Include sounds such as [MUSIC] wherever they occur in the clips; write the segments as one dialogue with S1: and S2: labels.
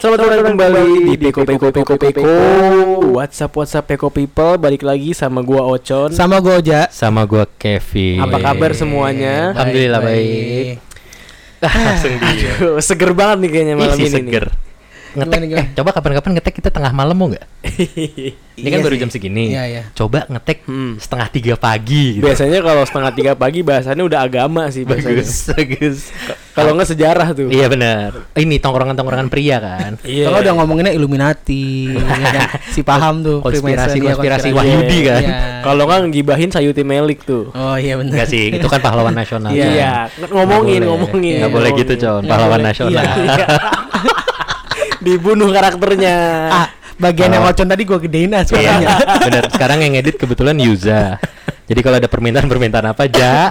S1: Selamat datang kembali di Peko Peko Peko Peko. WhatsApp WhatsApp Peko People balik lagi sama gua Ocon.
S2: Sama gue Oja
S3: sama gua Kevin.
S1: Apa kabar
S2: [LAUGHS]
S1: semuanya?
S3: Alhamdulillah baik. Ah, langsung di
S1: Aduh, seger banget nih kayaknya malam
S3: isi
S1: ini.
S3: seger. Ngetek,
S2: Gimana, gimana?
S3: eh, coba kapan-kapan ngetek kita tengah malam mau
S1: [LAUGHS]
S3: nggak?
S1: nih.
S3: Ini kan
S2: Iya
S3: baru
S2: sih.
S3: jam segini.
S2: Iya, iya.
S3: Coba ngetek
S1: Hmm.
S3: setengah tiga
S1: [LAUGHS]
S3: pagi. Gitu.
S1: Biasanya kalau setengah tiga pagi bahasannya udah agama sih biasanya.
S3: Bagus, bagus.
S1: Kalau nggak sejarah tuh.
S3: Iya benar. Ini tongkrongan-tongkrongan pria kan.
S1: Iya.
S2: Kalau udah ngomonginnya [LAUGHS] Illuminati ya kan? Si paham tuh
S3: Konspirasi-
S2: Freemason, iya,
S3: konspirasi
S2: konspirasi.
S3: Wahyudi kan?
S2: Iya.
S1: Kalau nggak ngibahin Sayuti Melik tuh.
S2: Oh iya bener
S3: Enggak sih, itu kan pahlawan nasional.
S1: Iya. Ngomongin, ngomongin.
S3: Enggak boleh
S1: ngomongin.
S3: gitu, Con.
S2: Nggak
S3: Pahlawan
S2: boleh.
S3: nasional. [LAUGHS]
S1: Iya. Dibunuh karakternya.
S2: [LAUGHS] Ah bagian
S3: Oh.
S2: yang Ocon tadi gue gedein as
S3: Iya.
S2: makanya.
S3: Benar. Sekarang yang edit kebetulan Yuza. Jadi kalau ada permintaan-permintaan apa, Ja.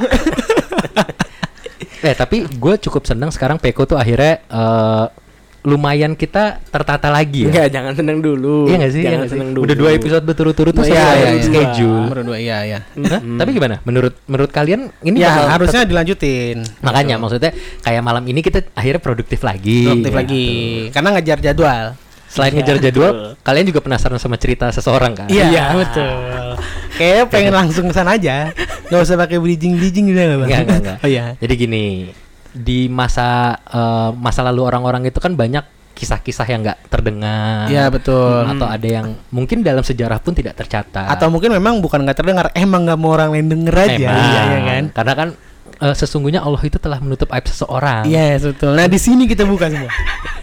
S3: eh, tapi gue cukup senang sekarang Peko tuh akhirnya eh, lumayan kita tertata lagi ya.
S1: Enggak, jangan seneng dulu.
S3: Iya nggak sih? Iya
S1: Jangan
S3: nggak sih?
S1: seneng dulu.
S3: Udah dua episode berturut-turut tuh
S2: Iya,
S3: saya
S2: iya, iya.
S3: schedule.
S2: Menurut dua iya iya
S3: Hah? Tapi gimana? Menurut menurut kalian ini
S2: Ya
S3: bakal-
S2: harusnya dilanjutin
S3: makanya maksudnya kayak malam ini kita akhirnya produktif lagi.
S2: Produktif
S3: Ya,
S2: lagi Iya,
S3: tuh.
S2: Karena ngejar jadwal
S3: Selain ngejar jadwal, kalian juga penasaran sama cerita seseorang kan?
S1: Iya.
S2: betul Kayaknya pengen langsung kesana aja Gak usah pakai bridging-bridging gitu nggak, Bang?
S3: Enggak, enggak, enggak.
S2: [LAUGHS] Oh iya
S3: Jadi gini, di masa eh, masa lalu orang-orang itu kan banyak kisah-kisah yang nggak terdengar.
S2: Iya betul
S3: Atau ada yang mungkin dalam sejarah pun tidak tercatat.
S2: Atau mungkin memang bukan nggak terdengar, emang nggak mau orang lain denger aja,
S3: Memang.
S2: iya ya kan?
S3: Karena kan eh, sesungguhnya Allah itu telah menutup aib seseorang.
S2: Iya betul. Nah di sini kita buka semua,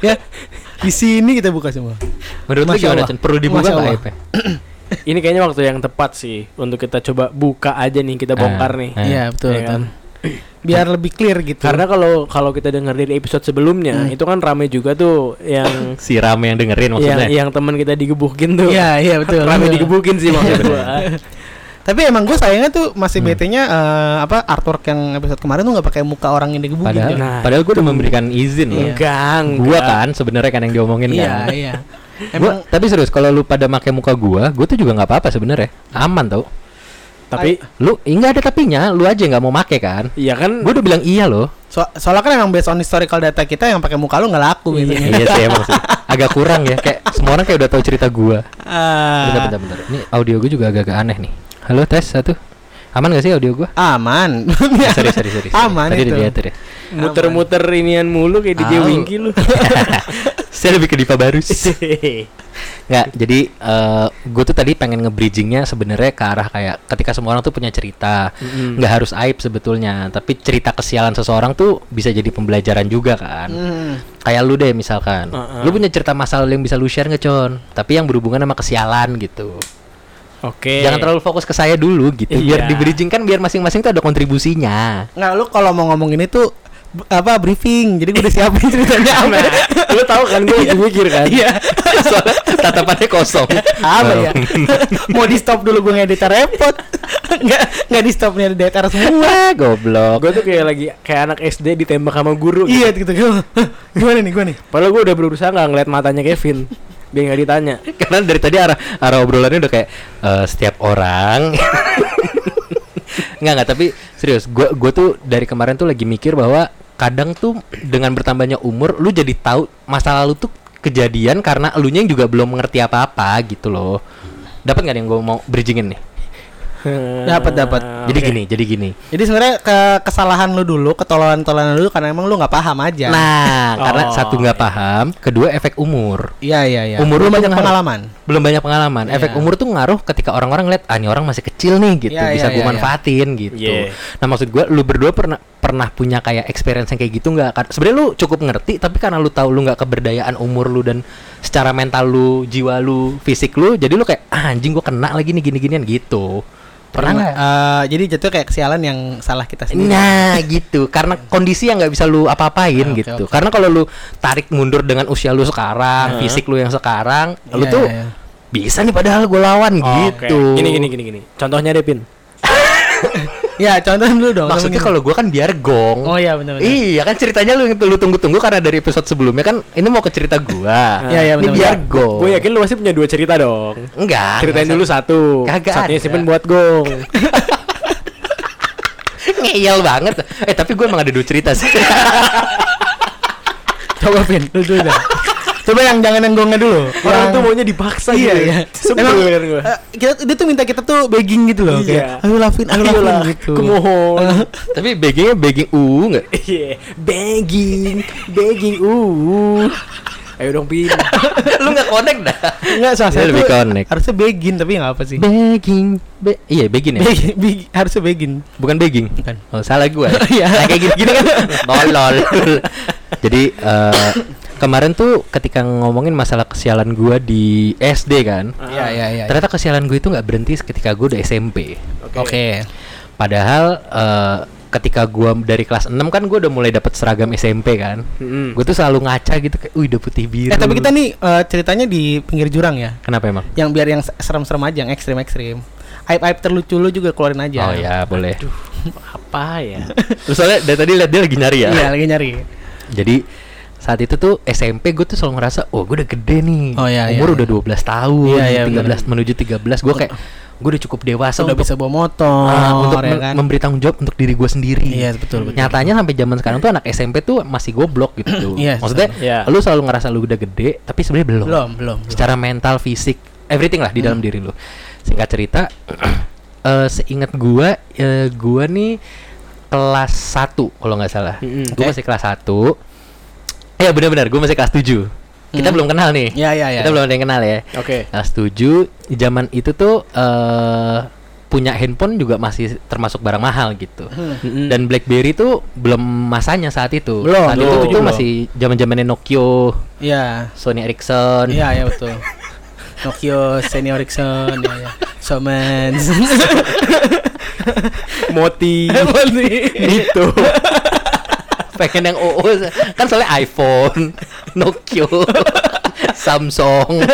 S2: ya di sini kita buka semua.
S3: Menurut lu
S2: Masya
S3: gimana,
S2: Allah.
S3: Cen? Perlu dibuka
S2: Masya
S3: nggak
S2: Allah.
S3: aibnya?
S1: Ini kayaknya waktu yang tepat sih untuk kita coba buka aja nih, kita
S3: Ah,
S1: bongkar nih.
S3: ah. Eh.
S2: Iya betul,
S1: Iya
S2: betul.
S1: kan?
S2: Biar lebih clear gitu.
S1: Karena kalau kalau kita dengar dari episode sebelumnya, itu kan rame juga tuh yang
S3: Si Rame yang
S1: yang
S3: dengerin maksudnya.
S1: yang teman kita digebukin tuh.
S2: Iya iya betul.
S1: Rame
S2: betul.
S1: digebukin sih maksud gua.
S2: Tapi emang gue sayangnya tuh masih
S3: Hmm.
S2: BT-nya apa artwork yang episode kemarin tuh nggak pakai muka orang yang gitu. digebukin.
S3: Padahal,
S2: Jon.
S1: Nah,
S3: padahal gue udah memberikan izin loh.
S1: Enggak,
S3: Gua kan sebenarnya kan yang diomongin
S2: Iya
S3: kan.
S2: iya.
S3: Gua,
S2: Emang
S3: tapi serius kalau lu pada pakai muka gua, gua tuh juga nggak apa-apa sebenarnya. Aman tau.
S1: Tapi
S3: Lu enggak ada tapinya, lu aja nggak mau make kan?
S1: iya kan
S3: Gue udah bilang iya loh.
S2: so- soalnya kan emang based on historical data kita yang pakai muka lu nggak laku biasanya.
S3: [LAUGHS] iya sih emang sih. Agak kurang ya kayak semua orang kayak udah tahu cerita gua.
S2: Ah,
S3: Bentar bentar bentar. Ini audio gua juga agak-agak aneh nih. Halo tes satu. Aman gak sih audio
S2: [LAUGHS]
S3: gua?
S2: Ah, aman.
S3: Eh, sorry, sorry, sorry, sorry.
S2: [LAUGHS] Aman
S3: Tadi
S2: itu.
S3: udah diatur ya.
S1: muter-muter inian mulu kayak DJ
S3: Au.
S1: Winky lu. [LAUGHS]
S3: Saya lebih ke Dipa Barus. Nggak, jadi eh gue tuh tadi pengen nge-bridgingnya sebenarnya ke arah kayak ketika semua orang tuh punya cerita.
S1: Mm-mm.
S3: Nggak harus aib sebetulnya, tapi cerita kesialan seseorang tuh bisa jadi pembelajaran juga kan.
S2: Hmm.
S3: Kayak lu deh misalkan,
S1: Heeh.
S3: lu punya cerita masa lalu yang bisa lu share nggak Con? Tapi yang berhubungan sama kesialan gitu.
S1: Oke.
S3: Jangan terlalu fokus ke saya dulu gitu.
S1: Eh.
S3: Biar
S1: Iya.
S3: di bridging kan biar masing-masing tuh ada kontribusinya.
S2: Nggak, lu kalau mau ngomong ini tuh b- apa briefing. Jadi gue udah siapin
S3: [LAUGHS]
S2: ceritanya apa.
S1: Lu tahu kan gua lagi mikir kan.
S2: Iya.
S3: Soalnya tatapannya kosong.
S2: apa ya? [LAUGHS]
S3: Baru-
S2: mau di stop dulu gue ngedit repot. Nggak nggak di stop ngedit editor semua.
S3: Wah, goblok.
S1: Gue tuh kayak lagi kayak anak SD ditembak sama guru. gitu.
S2: Iya gitu [LAUGHS] Gua, "Hah, Gimana nih gue nih?
S1: Padahal gue udah berusaha nggak ngeliat matanya Kevin biar nggak ditanya.
S3: Karena dari tadi arah arah obrolannya udah kayak eh, setiap orang. Nggak nggak tapi serius, gua gua tuh dari kemarin tuh lagi mikir bahwa kadang tuh dengan bertambahnya umur lu jadi tahu masa lalu tuh kejadian karena elunya yang juga belum mengerti apa-apa gitu loh. Dapat nggak nih yang gua mau bridgingin nih?
S1: [LAUGHS]
S2: Dapat, dapat.
S3: Jadi gini, jadi gini.
S2: Jadi sebenarnya ke kesalahan lu dulu, ketololan-tololan lu dulu karena emang lu nggak paham aja.
S3: Nah, karena
S1: Oh,
S3: satu nggak paham, kedua efek umur.
S2: Iya iya iya.
S3: Umur
S2: Lu
S3: lu
S2: banyak
S3: ngaruh.
S2: pengalaman.
S3: Belum banyak pengalaman. Efek
S2: Iya.
S3: umur tuh ngaruh ketika orang-orang lihat ah ini orang masih kecil nih gitu,
S2: Iya,
S3: bisa
S2: iya,
S3: gue
S2: iya,
S3: manfaatin gitu.
S1: Iya.
S3: Nah, maksud gua lu berdua pernah pernah punya kayak experience yang kayak gitu nggak? Kar- Sebenarnya lu cukup ngerti, tapi karena lu tahu lu nggak keberdayaan umur lu dan secara mental lu, jiwa lu, fisik lu, jadi lu kayak ah, anjing gua kena lagi nih gini-ginian gitu. Pernah nggak?
S2: Eh, jadi jatuh kayak kesialan yang salah kita sendiri.
S3: Nah gitu Karena kondisi yang nggak bisa lu apa-apain
S2: Ah, oke,
S3: gitu
S2: oke.
S3: Karena kalau lu tarik mundur dengan usia lu sekarang Fisik lu yang sekarang Lu
S2: Iya,
S3: tuh
S2: iya, iya.
S3: bisa nih padahal gue lawan
S1: Oke.
S3: gitu
S1: Gini gini gini gini. Contohnya deh Pin.
S2: Ya contohin dulu dong.
S3: Maksudnya kalau
S2: contohin.
S3: gue kan biar gong
S2: Oh iya benar-benar.
S3: Iya kan ceritanya lu, lu tunggu-tunggu karena dari episode sebelumnya kan Ini mau ke cerita gua
S2: [LAUGHS] Iya, iya,
S3: Ini
S2: benar-benar.
S3: biar gong
S1: Gue yakin lu pasti punya dua cerita dong.
S3: Enggak
S1: Ceritain dulu satu.
S3: Kagak
S1: Satunya
S3: ada.
S1: simpen buat gong.
S3: [LAUGHS] Ngeyel banget Eh tapi gue emang ada dua cerita sih
S2: [LAUGHS]
S3: [LAUGHS]
S2: Coba pin, lu dulu dah. Coba yang jangan yang gongnya dulu.
S1: Orang
S2: Yang-
S1: tuh maunya dipaksa
S2: iya,
S1: gitu. [LAUGHS]
S2: iya.
S1: Sebel
S2: Emang,
S1: bener gua.
S2: eh, kita, dia tuh minta kita tuh begging gitu loh.
S1: Iya.
S2: Kayak, ayo Lavin, ayo Lavin
S1: Ayolah,
S2: gitu.
S1: kemohon.
S3: [LAUGHS] Tapi beggingnya begging u nggak?
S1: Iya, begging, begging. Uh. Ayo dong pin.
S3: Lu nggak connect dah.
S2: [LAUGHS] Enggak, salah
S3: Dia
S2: saya
S3: lebih
S2: tuh
S3: connect.
S2: harusnya begging tapi enggak apa sih.
S3: Begging, be- iya begging ya,
S2: Begging, beg- harusnya begging.
S3: bukan begging.
S2: Bukan.
S3: Oh, salah gua.
S2: [LAUGHS] Iya.
S3: Nah, kayak gini-gini kan. Tolol. [LAUGHS] Jadi eh, kemarin tuh ketika ngomongin masalah kesialan gua di SD kan,
S1: Iya, iya,
S2: iya.
S3: ternyata kesialan gue itu nggak berhenti ketika gue udah SMP.
S2: Oke.
S3: Padahal eh, ketika gua dari kelas 6 kan gua udah mulai dapat seragam SMP kan.
S1: Mm-mm.
S3: Gue tuh selalu ngaca gitu kayak, "Wih, udah putih biru."
S2: Hmm. Eh, tapi kita nih eh, ceritanya di pinggir jurang ya.
S3: Kenapa emang?
S2: Yang biar yang serem-serem aja, yang ekstrim-ekstrim. Aib-aib terlucu lu juga keluarin aja.
S3: Oh ya, boleh.
S1: Apa ya?
S3: Terus soalnya dari tadi lihat dia lagi nyari ya.
S2: Iya, lagi nyari.
S3: Jadi saat itu tuh SMP gue tuh selalu ngerasa, "Oh, gue udah gede nih."
S2: Oh, iya,
S3: Umur
S2: iya,
S3: udah 12 tahun,
S2: Iya, iya,
S3: 13 menuju 13. Gue kayak gue udah cukup dewasa
S2: Sudah
S3: untuk
S2: bisa bawa motor
S3: ah, untuk
S2: ya
S3: me-
S2: kan.
S3: memberi tanggung jawab untuk diri gue sendiri.
S2: Iya, betul, betul.
S3: Nyatanya sampai zaman sekarang tuh anak SMP tuh masih goblok gitu.
S2: Iya,
S3: Maksudnya
S1: Iya.
S3: lu selalu ngerasa lu udah gede, tapi sebenarnya belum.
S2: belum, belum. belum.
S3: Secara mental, fisik, everything lah di dalam
S2: Hmm.
S3: diri lu. Singkat cerita, [CLEARS THROAT] eh seingat gua, eh, gua nih kelas 1 kalau nggak salah.
S1: Mm-mm.
S3: Gua
S2: Hmm, Oke.
S3: masih kelas 1. Ya benar-benar gua masih kelas 7. Kita
S2: Mm.
S3: belum kenal nih.
S2: Iya, iya, iya.
S3: Kita belum ada yang kenal ya.
S1: Oke.
S3: Kelas 7 zaman itu tuh eh punya handphone juga masih termasuk barang mahal gitu.
S2: Hmm.
S1: Mm-mm.
S3: Dan BlackBerry tuh belum masanya saat itu.
S2: Belum,
S3: saat
S1: belum.
S3: itu tuh
S1: Belum.
S3: masih zaman-zamannya Nokia,
S2: Iya.
S3: Sony Ericsson.
S2: Iya, iya betul. Nokia, Sony Ericsson, ya, ya. Somens.
S1: Moti.
S3: [LAUGHS] itu. Pengen yang OO kan soalnya iPhone, [LAUGHS] Nokia, Samsung.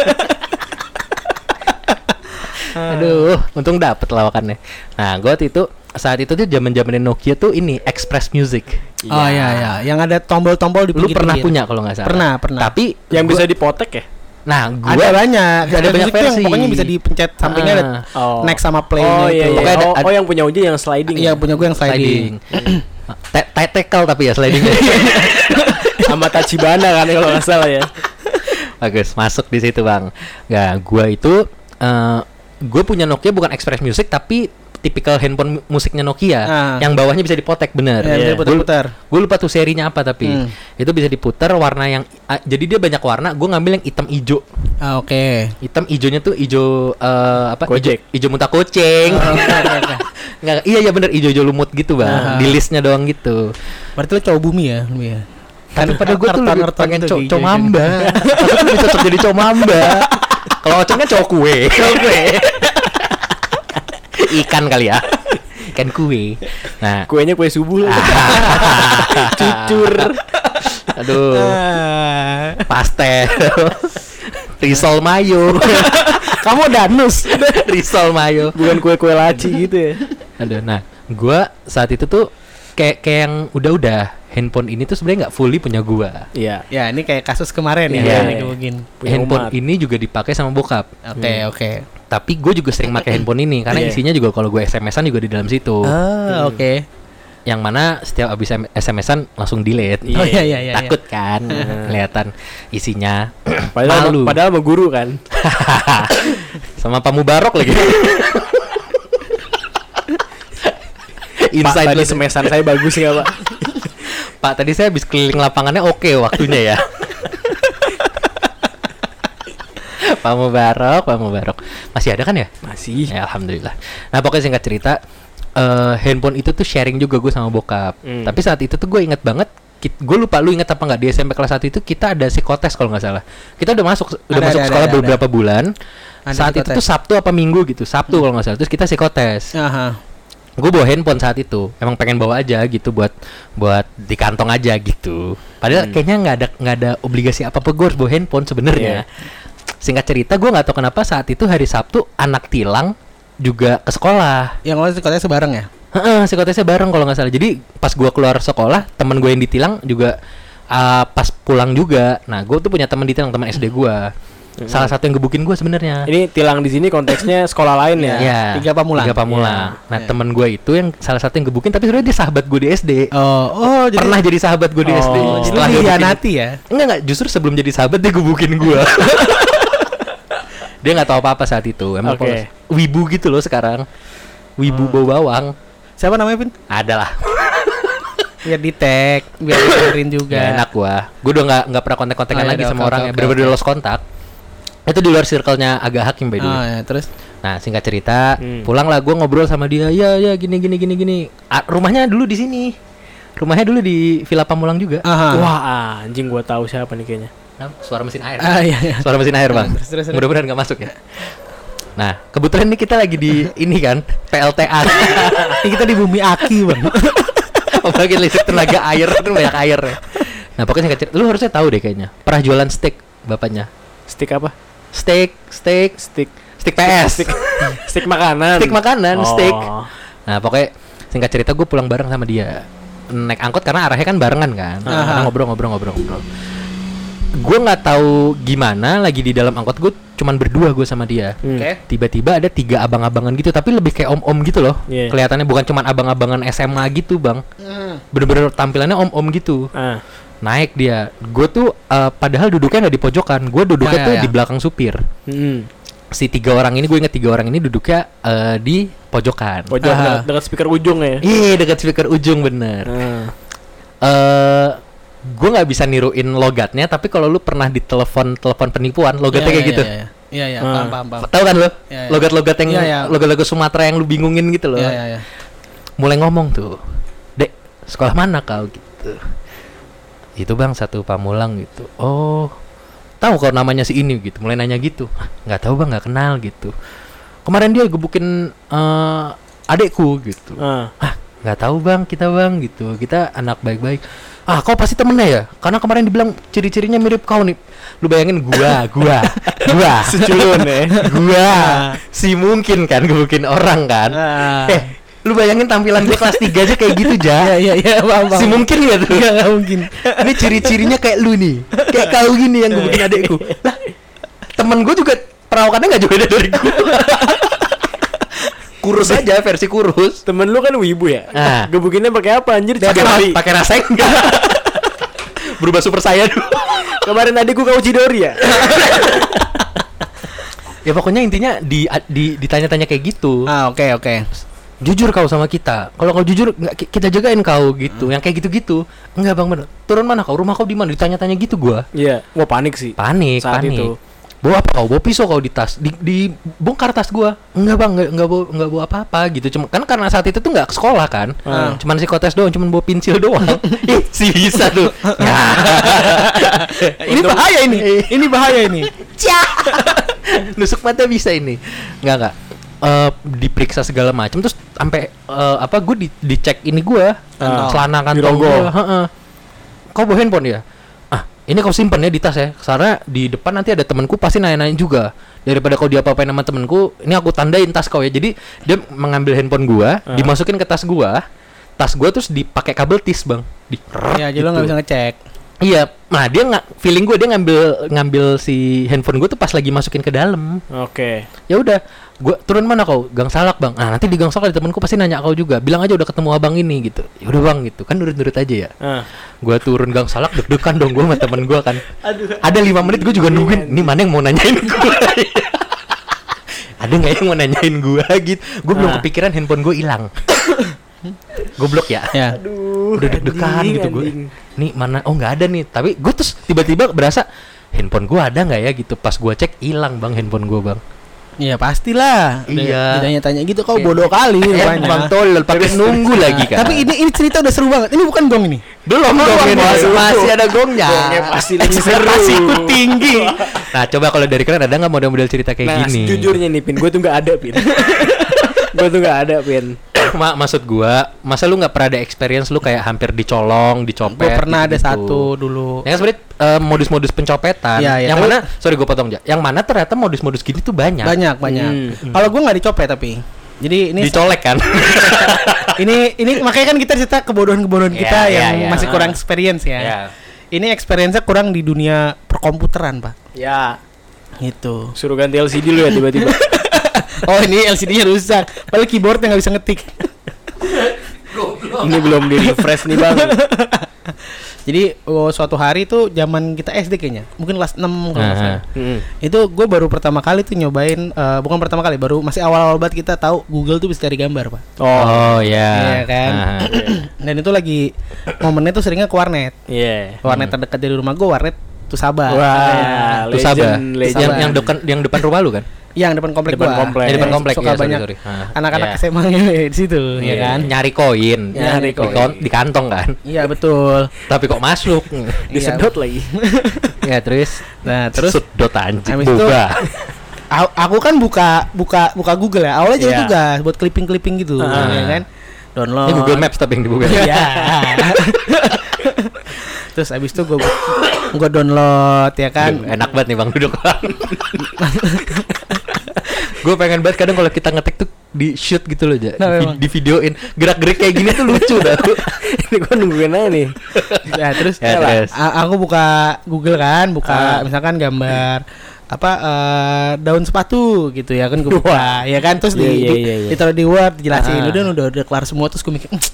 S3: Aduh, untung dapet lawakannya. Nah, gua waktu itu saat itu tuh zaman zamannya Nokia tuh ini Express Music.
S2: Oh iya iya, yang ada tombol-tombol di
S3: Lu pernah
S2: pinggir-pinggir.
S3: punya kalau nggak salah.
S2: Pernah, pernah.
S3: Tapi
S1: Yang
S3: gua-
S1: bisa dipotek ya?
S3: Nah, gua
S2: ada banyak,
S3: ada banyak
S2: Itu yang
S3: versi.
S2: Pokoknya bisa dipencet sampingnya ada
S3: Ah.
S1: Oh.
S2: next sama play
S1: Oh iya, iya.
S2: itu.
S3: Pokoknya ada-
S1: Oh,
S3: ada-
S1: oh, yang punya Uji yang sliding. ya?
S2: Iya, punya gue yang
S3: sliding.
S2: sliding.
S3: Te- te- Tackle tapi ya sliding.
S1: sama Tachibana kan kalau nggak salah ya.
S3: Bagus, masuk di situ bang. Nggak, gua itu, eh gue punya Nokia bukan Express Music tapi tipikal handphone mu- musiknya Nokia,
S2: Ah.
S3: yang bawahnya bisa dipotek bener.
S2: Iya, bisa
S1: Iya.
S2: putar-putar.
S3: Gue lupa tuh serinya apa tapi
S2: Hmm.
S3: itu bisa diputar warna yang, ah, jadi dia banyak warna. Gue ngambil yang hitam ijo.
S2: Ah, oke.
S3: Hitam ijonya tuh ijo eh, apa?
S1: Gojek.
S3: Ijo, ijo muntah kucing.
S2: Ah, oke, oke, oke.
S3: Nggak, iya iya bener ijo ijo lumut gitu bang.
S2: Ah.
S3: Di listnya doang gitu.
S2: Berarti lu cowok bumi ya, lu ya.
S3: Tapi pada gue tuh lebih pengen co
S2: cowok
S3: comamba. Maksudnya lebih cocok jadi comamba. Kalau ocon kan cowok kue. Cowok kue. [LAUGHS] Ikan kali ya. Ikan kue. Nah.
S1: Kuenya kue subuh lah.
S3: [LAUGHS] Ah. Cucur. Aduh.
S2: Ah.
S3: Pastel. Risol mayo.
S2: Kamu danus.
S3: Risol mayo.
S1: Bukan kue-kue laci gitu ya.
S3: Aduh, nah, gua saat itu tuh kayak kayak yang udah-udah handphone ini tuh sebenarnya nggak fully punya gua.
S1: Iya.
S2: ya, ini kayak kasus kemarin ya,
S3: Iya.
S2: yang dikebukin.
S1: Punya
S3: handphone
S1: umat.
S3: ini juga dipakai sama bokap.
S2: Oke, oke.
S3: tapi gue juga sering pakai handphone ini
S1: Iya.
S3: karena isinya juga kalau gue SMS-an juga di dalam situ.
S2: Ah, oke.
S3: Yang mana setiap abis em- SMS-an langsung delete.
S1: Iya. Ah.
S2: Oh iya iya iya.
S3: Takut kan kelihatan isinya.
S1: [CLEARS THROAT] Padahal
S3: Malu.
S1: padahal sama guru kan.
S3: Sama Pak Mubarok lagi.
S1: [LAUGHS] Pak
S3: Insight
S1: tadi
S3: lu-
S1: semesan saya bagus nggak pak?
S3: [LAUGHS] Pak tadi saya habis keliling lapangannya oke
S1: [LAUGHS]
S3: waktunya ya. Pak Mubarok, Pak Mubarok. Masih ada kan ya?
S1: Masih.
S3: Ya, alhamdulillah. Nah, pokoknya singkat cerita, eh handphone itu tuh sharing juga gue sama bokap.
S1: Hmm.
S3: Tapi saat itu tuh gue inget banget, gue lupa lu inget apa nggak di SMP kelas 1 itu kita ada psikotes kalau nggak salah. Kita udah masuk, udah
S2: Ada,
S3: masuk
S2: ada,
S3: sekolah
S2: ada, ada.
S3: beberapa bulan.
S2: Ada
S3: saat itu
S2: psikotes. Hmm.
S3: tuh Sabtu apa Minggu gitu, Sabtu kalau nggak salah. Terus kita psikotes.
S2: Aha.
S3: Gue bawa handphone saat itu, emang pengen bawa aja gitu buat buat di kantong aja gitu. Padahal
S2: Hmm.
S3: kayaknya nggak ada nggak ada obligasi apa apa gue harus bawa handphone sebenarnya.
S2: Iya.
S3: Singkat cerita, gue nggak tahu kenapa saat itu hari Sabtu anak tilang juga ke sekolah.
S2: Yang lo katanya sebarang ya?
S3: Heeh, psikotesnya bareng kalau nggak salah. Jadi pas gua keluar sekolah, teman gue yang ditilang juga ah, pas pulang juga. Nah, gue tuh punya teman ditilang teman SD gua.
S2: Hmm.
S3: Salah satu yang gebukin gue sebenarnya.
S1: Ini tilang di sini konteksnya sekolah lain ya.
S3: Iya.
S2: Tiga Pamulang.
S3: Tiga
S2: Iya.
S3: Pamulang. Nah, temen gue itu yang salah satu yang gebukin tapi sebenarnya dia sahabat gue di SD.
S2: Oh, oh jadi
S3: Pernah jadi sahabat gue di SD.
S1: Oh.
S2: setelah
S3: Setelah dia bikin-
S2: hianati ya.
S3: Enggak enggak, justru sebelum jadi sahabat dia gebukin gue. [LAUGHS] dia nggak tahu apa-apa saat itu. Emang
S1: Oke.
S3: polos. wibu gitu loh sekarang. Wibu bau bawang.
S2: Siapa namanya Pin?
S3: Adalah.
S2: Biar di tag,
S3: [LAUGHS]
S2: biar dengerin juga.
S3: Gak Ya, enak gua. Gua udah nggak nggak pernah kontak-kontakan
S2: Oh, iya,
S3: lagi
S2: udah,
S3: sama
S2: oke,
S3: orang
S2: oke,
S3: yang bener-bener lost kontak. Itu di luar circle-nya agak hakim by the way.
S2: Oh, ya, terus
S3: Nah, singkat cerita,
S1: Hmm.
S3: pulang lah gue ngobrol sama dia. Ya, ya gini gini gini gini. Ah, rumahnya dulu di sini. Rumahnya dulu di Villa Pamulang juga.
S2: Aha.
S1: Wah anjing gua tahu siapa nih kayaknya.
S3: Nah, Suara mesin air.
S2: Ah, iya, iya.
S3: Suara mesin air, Bang.
S2: Terus, terus, terus.
S3: Mudah-mudahan nggak masuk ya. Nah, kebetulan ini kita lagi di ini kan, PLTA.
S2: Ini kita di bumi Aki, Bang.
S3: Apalagi listrik tenaga air, itu banyak air. Nah, pokoknya singkat cerita, lu harusnya tahu deh kayaknya. Pernah jualan steak bapaknya.
S1: Stick apa?
S3: Steak, steak,
S1: Stick.
S3: steak PS.
S1: Stick, stick makanan.
S3: Steak makanan,
S1: Oh.
S3: steak. Nah pokoknya singkat cerita gue pulang bareng sama dia naik angkot karena arahnya kan barengan kan
S2: Aha.
S3: Karena ngobrol-ngobrol-ngobrol-ngobrol. Gue nggak tahu gimana lagi di dalam angkot gue cuman berdua gue sama dia.
S1: Hmm.
S2: Oke.
S3: Eh, Tiba-tiba ada tiga abang-abangan gitu tapi lebih kayak om-om gitu loh.
S1: Iya.
S3: Kelihatannya bukan cuman abang-abangan SMA gitu bang. Bener-bener tampilannya om-om gitu.
S1: Ah.
S3: Naik dia. Gue tuh eh, padahal duduknya nggak di pojokan. Gue duduknya
S2: Ya, ya,
S3: tuh
S2: ya.
S3: di belakang supir.
S1: Mm.
S3: Si tiga orang ini gue inget tiga orang ini duduknya eh, di pojokan.
S1: Pojok
S2: Ah.
S1: dekat, dekat speaker ujung ya.
S3: Iya dekat speaker ujung bener.
S1: Ah.
S3: Eh, gue nggak bisa niruin logatnya, tapi kalau lu pernah ditelepon telepon penipuan, [LAUGHS] logatnya kayak gitu.
S2: Iya, iya, iya,
S1: Ah.
S2: paham, paham, paham.
S3: Tahu kan lu?
S2: Iya, iya.
S3: Logat-logat yang
S2: Iya, iya.
S3: logat-logat Sumatera yang lu bingungin gitu loh.
S2: Iya, iya,
S3: [LAUGHS]
S2: iya.
S3: Mulai ngomong tuh, dek sekolah mana kau gitu. Itu bang satu pamulang gitu. Oh, tahu kalau namanya si ini gitu. Mulai nanya gitu. "Hah, Nggak tahu bang, nggak kenal gitu. Kemarin dia gebukin eh, adekku gitu.
S1: Ah.
S3: ah nggak tahu bang kita bang gitu kita anak baik-baik ah kau pasti temennya ya karena kemarin dibilang ciri-cirinya mirip kau nih lu bayangin gua gua gua
S1: Seculun ya.
S3: gua si mungkin kan gebukin orang kan
S2: Ah. [LAUGHS]
S3: eh lu bayangin tampilan gua kelas 3 aja kayak gitu
S2: Iya,
S3: ja
S2: iya, iya, paham, paham.
S3: si mungkin ya tuh
S2: Nggak, nggak mungkin.
S3: ini ciri-cirinya kayak lu nih kayak kau gini yang gebukin adekku lah temen gua juga perawakannya nggak jauh beda dari gua kurus aja versi kurus
S1: Temen lu kan wibu ya?
S3: Ah.
S1: Gebukinnya pakai apa anjir?
S3: pakai
S1: Chidori.
S3: ra- pakai rasa enggak berubah super saya dulu
S1: Kemarin tadi gua kau Cidori ya?
S3: ya pokoknya intinya di, di ditanya-tanya kayak gitu
S2: Ah, oke, oke.
S3: jujur kau sama kita kalau kau jujur nggak ki- kita jagain kau gitu yang kayak gitu-gitu enggak bang bener turun mana kau rumah kau di mana ditanya-tanya gitu gua
S1: Iya. Wah panik sih.
S3: panik
S1: Saat
S3: panik
S1: itu.
S3: bawa apa kau bawa pisau kau di tas di, dibongkar tas gua enggak bang enggak, enggak bawa enggak bawa apa-apa gitu cuma kan karena saat itu tuh enggak ke sekolah kan
S1: Ah.
S3: cuman psikotes doang cuman bawa
S1: [LAUGHS]
S3: pensil doang Ih, si bisa tuh Nah. [LAUGHS]
S2: Ini bahaya ini.
S1: Iya.
S2: Ini bahaya ini.
S3: nusuk mata bisa ini nggak nggak Eh, diperiksa segala macam terus sampai eh, apa gue di, dicek ini gue
S1: Ah,
S3: celana kantong
S1: dirogoh.
S3: gua, heeh. kau bawa handphone ya ah ini kau simpen ya di tas ya karena di depan nanti ada temanku pasti nanya-nanya juga daripada kau diapa-apain sama temanku ini aku tandain tas kau ya jadi dia mengambil handphone gua
S1: Ah.
S3: dimasukin ke tas gua tas gua terus dipakai kabel tis bang di
S2: Iya, jadi lo nggak bisa ngecek.
S3: iya nah dia nggak feeling gue dia ngambil ngambil si handphone gue tuh pas lagi masukin ke dalam
S1: Oke.
S3: ya udah gua turun mana kau gang salak bang ah nanti di gang salak ada temanku pasti nanya kau juga bilang aja udah ketemu abang ini gitu ya udah bang gitu kan nurut-nurut aja ya
S1: Ah.
S3: gua turun gang salak deg-degan dong gua sama temen gua kan ada lima menit gua juga nungguin nih mana yang mau nanyain gua [LAUGHS] ada nggak yang mau nanyain gua gitu gua belum
S1: Ah.
S3: kepikiran handphone gua hilang [COUGHS] goblok ya
S2: Ya.
S3: udah deg-degan
S1: anjing,
S3: gitu gue
S1: anjing.
S3: nih mana oh nggak ada nih tapi gue terus tiba-tiba berasa handphone gua ada nggak ya gitu pas gua cek hilang bang handphone gua bang
S2: Iya, pastilah.
S3: Iya.
S2: Ditanya-tanya gitu kau bodoh kali rupanya.
S3: Emang tolol Eh, pakai
S2: [LAUGHS]
S3: nunggu lagi kan.
S2: Nah, Tapi ini ini cerita udah seru banget. Ini bukan gong ini.
S3: belum gong
S1: ini
S3: masih,
S1: baru.
S3: masih ada gongnya.
S1: Gongnya pasti lebih
S3: Ekspektasi
S1: seru.
S3: ku tinggi. Nah, coba kalau dari kalian ada nggak model-model cerita kayak
S1: Nah,
S3: gini? [CLEARS THROAT]
S1: sejujurnya nih Pin, gue tuh nggak ada Pin. gue tuh nggak ada Pin.
S3: Ma- maksud gua, masa lu nggak pernah ada experience lu kayak hampir dicolong, dicopet?
S2: Gue pernah ada
S3: gitu-gitu?
S2: satu dulu.
S3: Ya kan sebenarnya eh, modus-modus pencopetan.
S2: Iya, iya.
S3: Yang
S2: Tapi-
S3: mana? Sorry gue potong aja. Yang mana ternyata modus-modus gini tuh banyak.
S2: Banyak, banyak.
S1: Hmm.
S2: Kalau gue nggak dicopet tapi. Jadi ini
S3: Dicolek kan?
S2: [LAUGHS] ini ini makanya kan kita cerita kebodohan-kebodohan
S3: Iya,
S2: kita
S3: iya,
S2: yang
S3: iya.
S2: masih kurang Ya. experience ya. Ini experience-nya kurang di dunia perkomputeran, Pak.
S1: Ya.
S2: Gitu.
S1: Suruh ganti LCD lu ya tiba-tiba.
S2: [LAUGHS] Oh ini LCD-nya rusak. Padahal keyboardnya nggak bisa
S3: [LAUGHS]
S2: ngetik.
S1: Ini belum di refresh nih bang.
S2: Jadi oh, suatu hari tuh zaman kita SD kayaknya, mungkin kelas 6 kalau nggak salah.
S3: Aha.
S1: Mm-mm.
S2: Itu gue baru pertama kali tuh nyobain, eh, bukan pertama kali, baru masih awal-awal banget kita tahu Google tuh bisa cari gambar pak.
S1: Oh,
S2: [CLEARS THROAT]
S3: Oh ya.
S2: Iya kan?
S3: Aha.
S2: Dan itu lagi momennya tuh seringnya ke warnet.
S1: iya.
S2: Warnet terdekat dari rumah gue, warnet tuh sabar.
S1: Wah,
S3: Itu Sabah.
S1: legend, legend.
S3: Yang yang depan yang depan rumah lu kan?
S2: Iya, Yang depan komplek
S1: Depan
S2: gua.
S1: komplek.
S3: Yang depan
S2: Yang
S3: komplek
S2: Suka
S3: ya, sorry,
S2: banyak
S3: sorry. Ah,
S2: anak-anak
S3: iya.
S2: SMA di situ, ya
S3: Iya.
S2: kan?
S3: Nyari koin.
S1: Nyari
S3: Di kon-
S1: koin.
S3: Di kantong kan.
S2: Iya betul.
S3: Tapi kok
S2: [LAUGHS]
S3: masuk?
S1: Disedot lagi.
S3: ya terus
S2: Nah terus
S3: sedot anjing
S2: Habis itu-
S3: boba.
S2: au- aku kan buka buka buka Google ya. Awalnya jadi
S1: Iya.
S2: tugas buat clipping-clipping gitu,
S1: Ah.
S2: ya kan? Download.
S3: Ini Google Maps tapi yang dibuka.
S2: Iya. terus abis itu gue gue download ya kan.
S3: Aduh, enak banget nih bang duduk [LAUGHS] gue pengen banget kadang kalau kita ngetik tuh di shoot gitu loh ja.
S2: Nah,
S3: Di-
S2: memang.
S3: di videoin gerak-gerik kayak gini tuh lucu dah
S1: [LAUGHS]
S2: [LAUGHS]
S1: Ini gua nungguin aja nih.
S2: Nah, terus
S3: Ya, terus.
S2: a- aku buka Google
S1: Ah.
S2: kan, buka misalkan gambar apa eh, daun sepatu gitu ya kan gue buka ya kan terus di,
S1: Iya, iya,
S2: di-
S1: iya, iya.
S2: ditaruh di Word dijelasin
S1: Ah.
S2: udah udah udah kelar semua terus gue mikir "Hmm,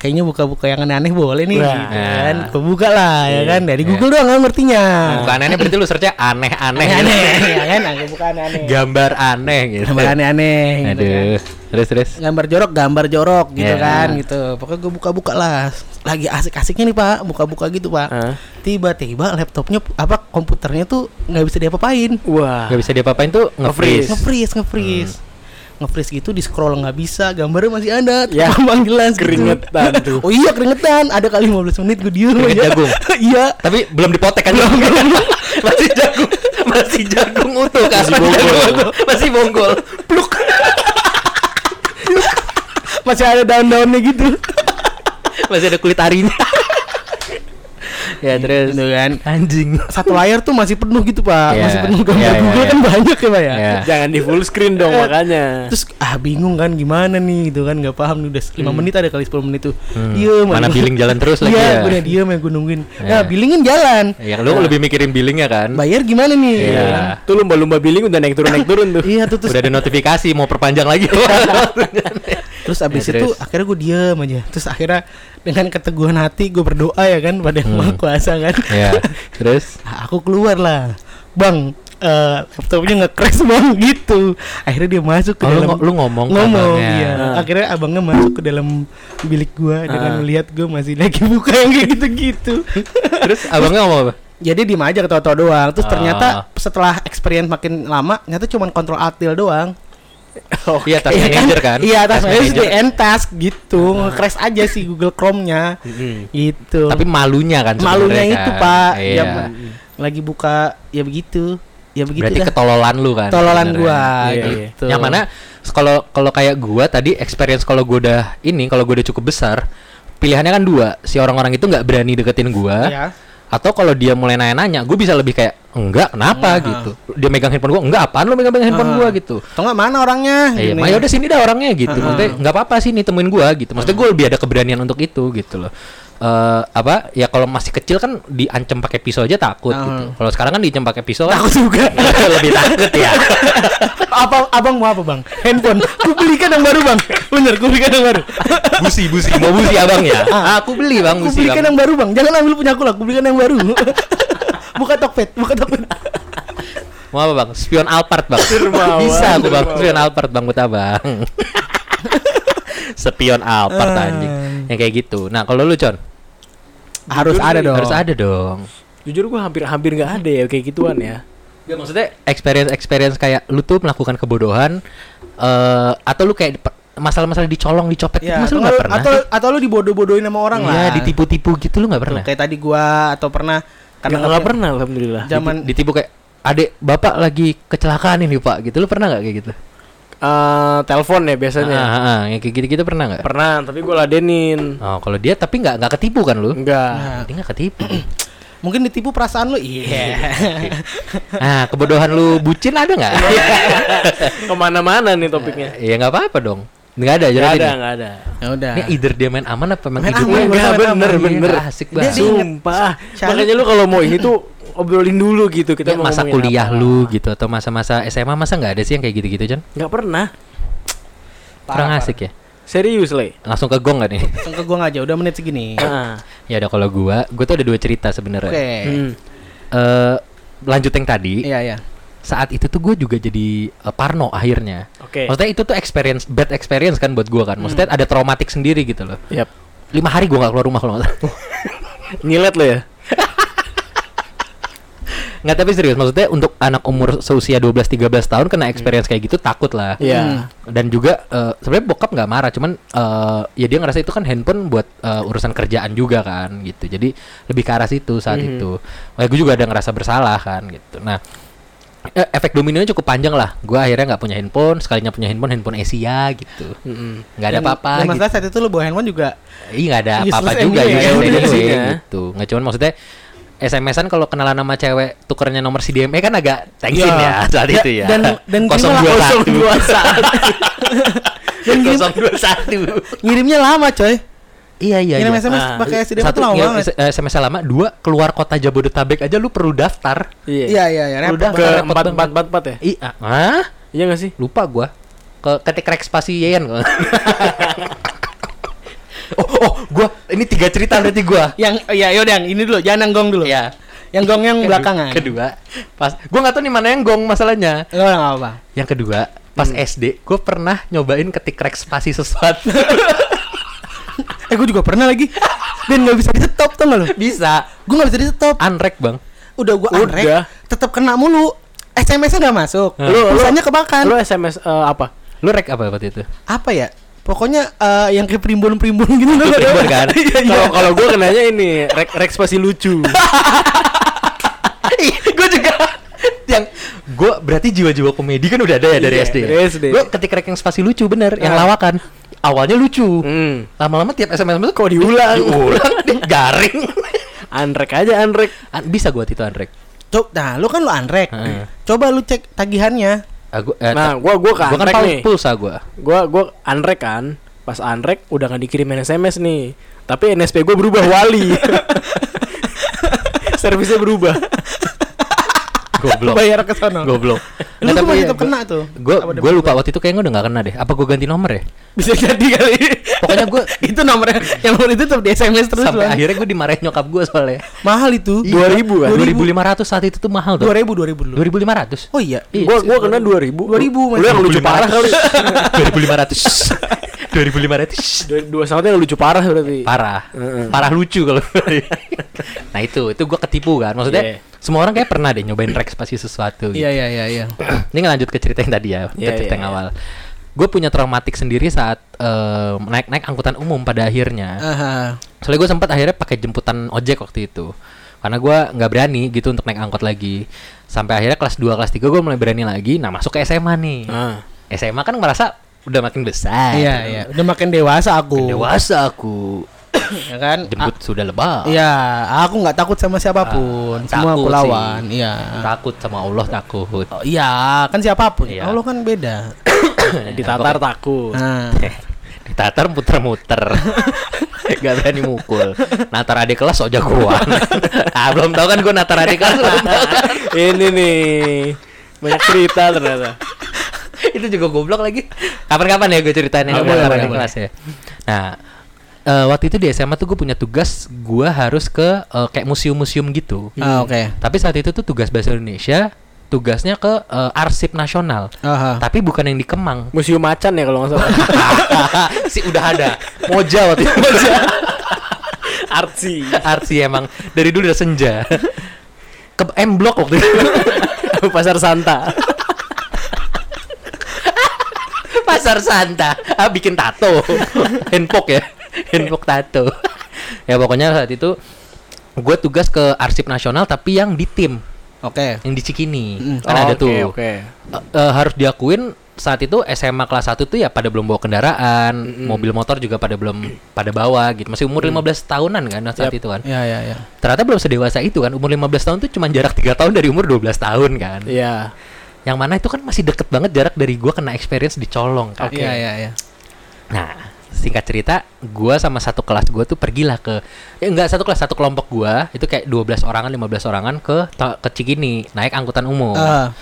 S2: kayaknya buka-buka yang aneh-aneh boleh
S1: Nah.
S2: nih gitu kan gue buka lah ya
S1: Iya,
S2: kan dari
S3: iya.
S2: Google doang kan ngertinya
S3: bukan aneh berarti lu searchnya aneh-aneh gitu.
S2: aneh-aneh [LAUGHS] ya kan aku buka aneh-aneh
S3: gambar aneh gitu
S2: gambar aneh-aneh gitu kan.
S3: aduh terus terus
S2: gambar jorok gambar jorok gitu
S3: Iya.
S2: kan gitu pokoknya gue buka-buka lah lagi asik-asiknya nih pak buka-buka gitu pak
S1: Hah?
S2: tiba-tiba laptopnya apa komputernya tuh nggak bisa diapa-apain
S1: Wah.
S3: Gak bisa diapa-apain tuh
S1: Nge-freeze.
S3: nge-freeze Hmm.
S2: nge-freeze nge-freeze nge-freeze gitu di scroll nggak bisa gambarnya masih ada
S1: Ya,
S2: [LAUGHS] emang jelas gitu.
S1: keringetan tuh.
S2: [LAUGHS] oh iya keringetan ada kali 15 menit gue diem
S3: Keringet
S2: aja.
S3: jagung.
S2: [LAUGHS] iya
S3: tapi belum dipotek kan [LAUGHS] masih jagung masih jagung utuh kan
S1: Masih bonggol.
S3: jagung utuh. masih bonggol pluk
S2: masih ada daun-daunnya gitu
S3: masih ada kulit arinya ya terus
S2: Gitu kan
S3: anjing
S2: satu layar tuh masih penuh gitu pak
S3: Iya.
S2: masih penuh gambar
S3: Iya, iya,
S2: Google
S3: iya.
S2: kan banyak ya pak ya
S3: Iya.
S1: Jangan di full screen dong makanya.
S2: Terus ah bingung kan gimana nih gitu kan nggak paham nih udah 5 menit ada kali 10 menit tuh.
S3: Hmm,
S2: Diem
S3: mana
S2: aja.
S3: billing jalan terus lagi
S2: Iya,
S3: ya.
S2: gue udah diem ya gue nungguin.
S3: Iya.
S2: Nah, billingin jalan.
S3: Ya lu lebih mikirin billingnya kan.
S2: Bayar gimana nih?
S3: Iya.
S1: Tuh lumba-lumba billing udah naik turun naik turun tuh.
S2: Iya tuh terus
S3: Udah
S2: Iya.
S3: ada notifikasi mau perpanjang lagi.
S2: terus abis
S3: Iya,
S2: itu
S3: terus.
S2: akhirnya gue diem aja. Terus akhirnya dengan keteguhan hati gue berdoa ya kan pada
S3: Hmm.
S2: yang maha kuasa kan.
S3: [LAUGHS] ya, terus
S2: Nah, aku keluar lah, bang. eh laptopnya nge-crash bang gitu akhirnya dia masuk ke
S3: Oh, lu
S2: dalam
S3: ngo- lu ngomong ke
S2: ngomong
S3: abangnya.
S2: iya.
S1: Ah.
S2: akhirnya abangnya masuk ke dalam bilik gua dengan
S1: Ah.
S2: melihat gua masih lagi buka yang kayak gitu-gitu
S3: terus abangnya ngomong apa?
S2: jadi diem aja ketawa-tawa doang terus
S3: Ah.
S2: ternyata setelah experience makin lama ternyata cuma kontrol altil doang
S3: Iya, task
S2: Iya
S3: manager kan?
S2: iya task manager
S3: manager. Ah.
S2: di end task gitu crash aja sih Google Chrome-nya gitu
S3: Tapi malunya kan sebenarnya
S2: malunya itu
S3: kan.
S2: pak
S3: Iya.
S2: yang lagi buka ya begitu ya begitu
S3: Berarti
S2: dah.
S3: ketololan lu kan.
S2: tololan
S3: sebenarnya.
S2: gua
S1: Iya, iya.
S2: gitu.
S3: Yang mana kalau kalau kayak gua tadi experience kalau gua udah ini kalau gua udah cukup besar pilihannya kan dua si orang-orang itu nggak berani deketin gua
S2: Iya.
S3: atau kalau dia mulai nanya-nanya gue bisa lebih kayak enggak kenapa
S2: Nah.
S3: gitu dia megang handphone gua enggak apaan lu megang megang handphone
S2: Ah.
S3: gua gitu
S2: Atau nggak mana orangnya?
S3: Iya,
S2: Gini.
S3: mah udah sini dah orangnya gitu.
S2: Ah, Heeh.
S3: Maksudnya nggak apa-apa sih nih temuin gua gitu. Maksudnya gua lebih ada keberanian untuk itu gitu loh. Eh apa ya kalau masih kecil kan diancam pakai pisau aja takut
S2: Heeh.
S3: gitu. Kalau sekarang kan diancam pakai pisau kan
S2: Takut [LAUGHS] juga.
S3: [LAUGHS] lebih takut ya.
S2: Abang, abang mau apa bang? Handphone. Gue belikan yang baru bang. Bener, gue belikan yang baru.
S3: busi busi mau busi abang ya.
S2: Ah.
S3: Aku beli bang
S2: Gue
S3: busi.
S2: belikan
S3: Bang.
S2: yang baru bang. Jangan ambil punya aku lah. Gue belikan yang baru. [LAUGHS] buka Tokped, buka Tokped.
S3: Mau apa bang? Spion Alphard bang.
S1: Dermawan,
S3: Bisa aku bang
S1: dermawan.
S3: spion Alphard bang buta
S2: [LAUGHS]
S3: bang. Spion Alphard
S2: Ah.
S3: anjing. Yang kayak gitu. Nah kalau lu Con
S2: Harus
S1: Jujur
S2: ada
S1: nih,
S2: dong.
S3: harus ada dong.
S1: Jujur gua hampir-hampir nggak ada ya kayak gituan ya.
S3: Ya maksudnya experience experience kayak lu tuh melakukan kebodohan eh atau lu kayak dip- masalah-masalah dicolong, dicopet
S2: Ya,
S3: gitu masa lu
S2: atau,
S3: gak
S2: lu-
S3: pernah?
S2: atau atau lu dibodoh-bodohin sama orang
S3: Iya,
S2: lah.
S3: ditipu-tipu gitu lu gak
S2: Tuh,
S3: pernah?
S2: Kayak tadi gua atau pernah
S1: Karena
S2: karena
S1: nggak pernah alhamdulillah.
S2: Jam- zaman-
S3: ditipu kayak adek bapak lagi kecelakaan ini pak gitu lu pernah nggak kayak gitu
S1: Eh, telepon ya biasanya.
S3: Ah, ah, ah, yang kayak gitu gitu pernah nggak
S1: Pernah, tapi gua ladenin.
S3: oh kalau dia tapi nggak nggak ketipu kan lu [LAUGHS]
S1: Enggak.
S3: dia nggak ketipu
S2: mungkin ditipu perasaan lu. Iya.
S3: nah kebodohan lu bucin ada nggak
S2: Iya,
S1: Kemana-mana nih topiknya.
S3: [LAUGHS] ya nggak apa-apa dong nggak ada
S1: Gak
S3: jadi
S1: ada, nggak ada.
S2: Ya udah.
S3: ini either dia main aman apa emang
S2: Main
S3: hidupnya
S2: aman,
S3: Iya,
S2: gua sama
S3: bener
S2: aman.
S3: bener
S2: Iya,
S3: asik
S2: Dia-
S3: banget
S2: dia-
S1: Sumpah.
S2: Charlie-
S1: Makanya lu kalau mau ini tuh obrolin dulu gitu kita
S3: Kita
S1: mau
S3: Ya, Iya, masa
S1: ngomongin
S3: kuliah
S1: apa.
S3: lu gitu atau masa-masa SMA masa nggak ada sih yang kayak gitu-gitu Jon?
S1: nggak pernah
S3: Kurang asik ya.
S1: serius le
S3: Langsung ke gong gak nih? [LAUGHS]
S2: Ke gua aja udah menit segini.
S1: Nah,
S3: ya udah kalau gua, gua tuh ada dua cerita sebenarnya. Eh
S2: Oke.
S1: hmm.
S3: lanjut yang tadi,
S2: Iya iya.
S3: saat itu tuh gue juga jadi eh, parno akhirnya.
S1: oke Hmm.
S3: Maksudnya itu tuh experience bad experience kan buat gua kan. Maksudnya ada traumatik sendiri gitu loh.
S1: Yap.
S3: Lima hari gua nggak keluar rumah kalau nggak salah.
S1: [LAUGHS] nyilet lo ya
S3: Hmm. nggak tapi serius maksudnya untuk anak umur seusia 12-13 tahun kena experience kayak gitu takut lah.
S1: Iya.
S2: Hmm.
S3: Dan juga eh, sebenarnya bokap nggak marah, cuman eh, ya dia ngerasa itu kan handphone buat eh, urusan kerjaan juga kan gitu. Jadi lebih ke arah situ saat
S1: Mhm.
S3: itu. Wah, gue juga ada ngerasa bersalah kan gitu. Nah, eh, efek dominonya cukup panjang lah. Gue akhirnya nggak punya handphone, sekalinya punya handphone handphone Asia gitu.
S1: Mm-mm.
S3: Nggak ada
S2: Dan-
S3: apa-apa. gitu.
S2: dan Masalah saat itu lu bawa handphone juga.
S3: Iya nggak ada
S2: Useless
S3: apa-apa juga
S2: anyway,
S3: ya,
S1: ya, udah
S3: anyway,
S1: sih, ya.
S3: gitu. Nggak cuman maksudnya SMS-an kalau kenalan sama cewek tukernya nomor CDMA kan agak tensin ya
S2: Iya.
S3: saat
S2: Da-
S3: itu ya.
S2: dan-
S3: [LAUGHS]
S2: dan
S3: kosong
S2: gimana?
S3: dua
S1: kosong
S3: satu.
S1: dua saat
S3: [LAUGHS] Kosong dua satu.
S2: Ngirimnya lama, coy.
S3: Iya iya.
S2: Ngirim
S3: iya.
S2: SMS
S1: Ah,
S2: pakai SD itu
S3: Satu
S2: lama
S3: ngirim
S2: banget.
S3: S- eh, SMS lama, dua keluar kota Jabodetabek aja lu perlu daftar.
S2: Iya iya iya. repot
S3: Udah.
S1: ke
S2: banget.
S1: empat
S3: Repot banget.
S1: empat empat empat ya
S3: Iya, ah,
S1: iya nggak sih
S3: lupa gua. Ke ketik rek spasi Yeyen. kalau- [LAUGHS] oh, oh, gua ini tiga cerita berarti gua.
S2: Yang ya yaudah yang ini dulu, jangan yang gong dulu.
S3: Iya.
S2: Yang gong yang
S3: Kedua-
S2: belakangan.
S3: Kedua, pas gua nggak tahu nih mana yang gong masalahnya.
S2: Enggak enggak apa-apa.
S3: Yang kedua, pas SD gue pernah nyobain ketik rek spasi [LAUGHS] sesuatu.
S2: Eh gue juga pernah
S3: [LAUGHS]
S2: lagi. Dan gak bisa di stop tuh lo.
S3: Bisa. Ah,
S2: Gue gak bisa di stop.
S3: Unrek, Bang.
S2: Udah gue
S1: Udah.
S2: unrek, tetap kena mulu. SMS-nya gak masuk.
S3: Hah.
S2: Lu pulsanya kebakan.
S1: lu sms eh, apa
S3: Lu rek apa waktu itu?
S2: Apa ya? Pokoknya eh, yang kayak primbon-primbon gitu loh.
S3: Primbon kan?
S2: Iya,
S1: [LAUGHS]
S2: iya.
S1: kalau kalau gue kenanya ini rek rek spasi lucu
S2: Iya,
S3: gue juga yang gue berarti jiwa-jiwa komedi kan udah ada ya dari
S1: Iya,
S3: SD.
S1: dari SD.
S3: Gue ketik rek yang spasi lucu bener, yang
S1: Ah.
S3: lawakan. Awalnya lucu.
S1: hmm.
S3: Lama-lama tiap SMS itu
S1: Kok diulang?
S2: [LAUGHS]
S3: Diulang, dia garing.
S1: anrek aja anrek
S2: Ah,
S3: An- Bisa gue itu unrek.
S2: Coba, nah lu kan lu unrek.
S3: Heeh.
S2: Coba lu cek tagihannya.
S3: Ah, gua, eh,
S1: nah gue gue
S3: ta- gua
S1: kan
S3: kan
S1: anrek
S3: pul-
S1: nih
S3: pulsa gue.
S1: gue gue anrek kan pas anrek udah nggak dikirimin sms nih tapi nsp gue berubah wali servisnya berubah
S2: [LAUGHS]
S3: Goblok.
S2: Bayar ke sono.
S3: Goblok.
S2: [LAUGHS] Lu
S3: ya,
S2: tuh masih tetap kena tuh.
S3: Gue
S2: Apa
S3: gue lupa waktu itu kayaknya udah gak kena deh. Apa gue ganti nomor ya?
S2: Bisa jadi kali.
S3: Pokoknya gua-
S2: [LAUGHS] itu nomornya yang nomor itu tetap di SMS terus
S3: sampai
S2: Bang.
S3: akhirnya gue dimarahin nyokap gue
S2: [LAUGHS]
S3: soalnya
S2: Mahal itu.
S1: Iya. 2000 kan?
S3: 2500 saat itu tuh mahal tuh
S2: 2000 2000 dulu.
S3: 2500
S2: Oh iya.
S1: gue gue kena dua ribu
S2: 2000
S1: Kan lu yang lucu parah kali
S3: [LAUGHS] 2500 2500
S1: dua, dua saatnya yang lucu parah berarti
S3: parah
S1: Heeh.
S3: parah lucu kalau [LAUGHS] nah itu itu gue ketipu kan maksudnya
S1: Iya.
S3: semua orang kayak pernah deh nyobain rek pasti sesuatu gitu.
S2: Iya iya iya iya.
S3: ini ngelanjut ke cerita yang tadi ya ke
S1: Iya,
S3: cerita
S1: iya,
S3: yang
S1: iya.
S3: awal gue punya traumatik sendiri saat eh, naik-naik angkutan umum pada akhirnya
S2: Aha.
S3: Soalnya gue sempat akhirnya pakai jemputan ojek waktu itu karena gue nggak berani gitu untuk naik angkot lagi sampai akhirnya kelas 2 kelas 3 gue mulai berani lagi nah masuk ke SMA nih
S1: Ah.
S3: SMA kan merasa udah makin besar
S2: Iya iya. Udah makin dewasa aku.
S3: dewasa aku
S2: Ya kan?
S3: jemput sudah
S2: A-
S3: lebah
S2: Iya, aku nggak takut sama siapapun.
S3: Ah,
S2: Semua aku
S3: takut
S2: lawan.
S3: sih.
S2: Iya.
S3: takut sama Allah takut
S2: Oh, iya, kan siapapun.
S3: Iya.
S2: Allah kan beda.
S1: ditatar takut
S2: Nah,
S3: [LAUGHS] ditatar muter-muter [LAUGHS] Gak berani mukul Natar adik kelas sok jagoan [LAUGHS] ah, Belum tau kan gue natar adik kelas belum tau
S2: [LAUGHS]
S3: kan.
S1: ini nih banyak cerita ternyata
S3: itu juga goblok lagi kapan-kapan ya gue ceritain yang
S2: Oh,
S3: gue
S2: boleh,
S3: taruh di
S2: boleh,
S3: kelas ya nah eh, waktu itu di SMA tuh gue punya tugas gue harus ke eh, kayak museum-museum gitu
S2: ah, oke.
S3: tapi saat itu tuh tugas bahasa Indonesia tugasnya ke eh, arsip nasional
S2: Aha.
S1: Ah.
S3: tapi bukan yang di Kemang [LAUGHS]
S1: museum macan ya kalau nggak salah
S3: si udah ada moja waktu itu moja
S1: artsy
S3: arsi emang dari dulu udah senja ke M Block waktu itu
S1: [LAUGHS]
S3: [LAUGHS]
S1: pasar santa
S3: Pasar Santa ah, bikin tato [LAUGHS] handpok ya handpok tato ya pokoknya saat itu gue tugas ke arsip nasional tapi yang di tim
S2: Oke.
S3: yang di Cikini
S2: Mm.
S3: kan
S1: Hmm. Oh,
S3: ada
S1: Oke,
S3: tuh
S1: oke
S3: Eh, eh, harus diakuin saat itu SMA kelas 1 tuh ya pada belum bawa kendaraan mobil motor juga pada belum pada bawa gitu masih umur 15 tahunan kan saat
S1: Yap.
S3: itu kan
S2: Iya, iya, iya.
S3: ternyata belum sedewasa itu kan umur 15 tahun tuh cuma jarak tiga tahun dari umur 12 tahun kan
S1: iya
S3: yang mana itu kan masih deket banget jarak dari gua kena experience di colong kan
S2: Iya, iya, iya.
S3: Nah, singkat cerita gua sama satu kelas gua tuh pergilah ke ya enggak satu kelas satu kelompok gua itu kayak 12 orangan 15 orangan ke ta- ke Cikini naik angkutan umum
S2: Ah,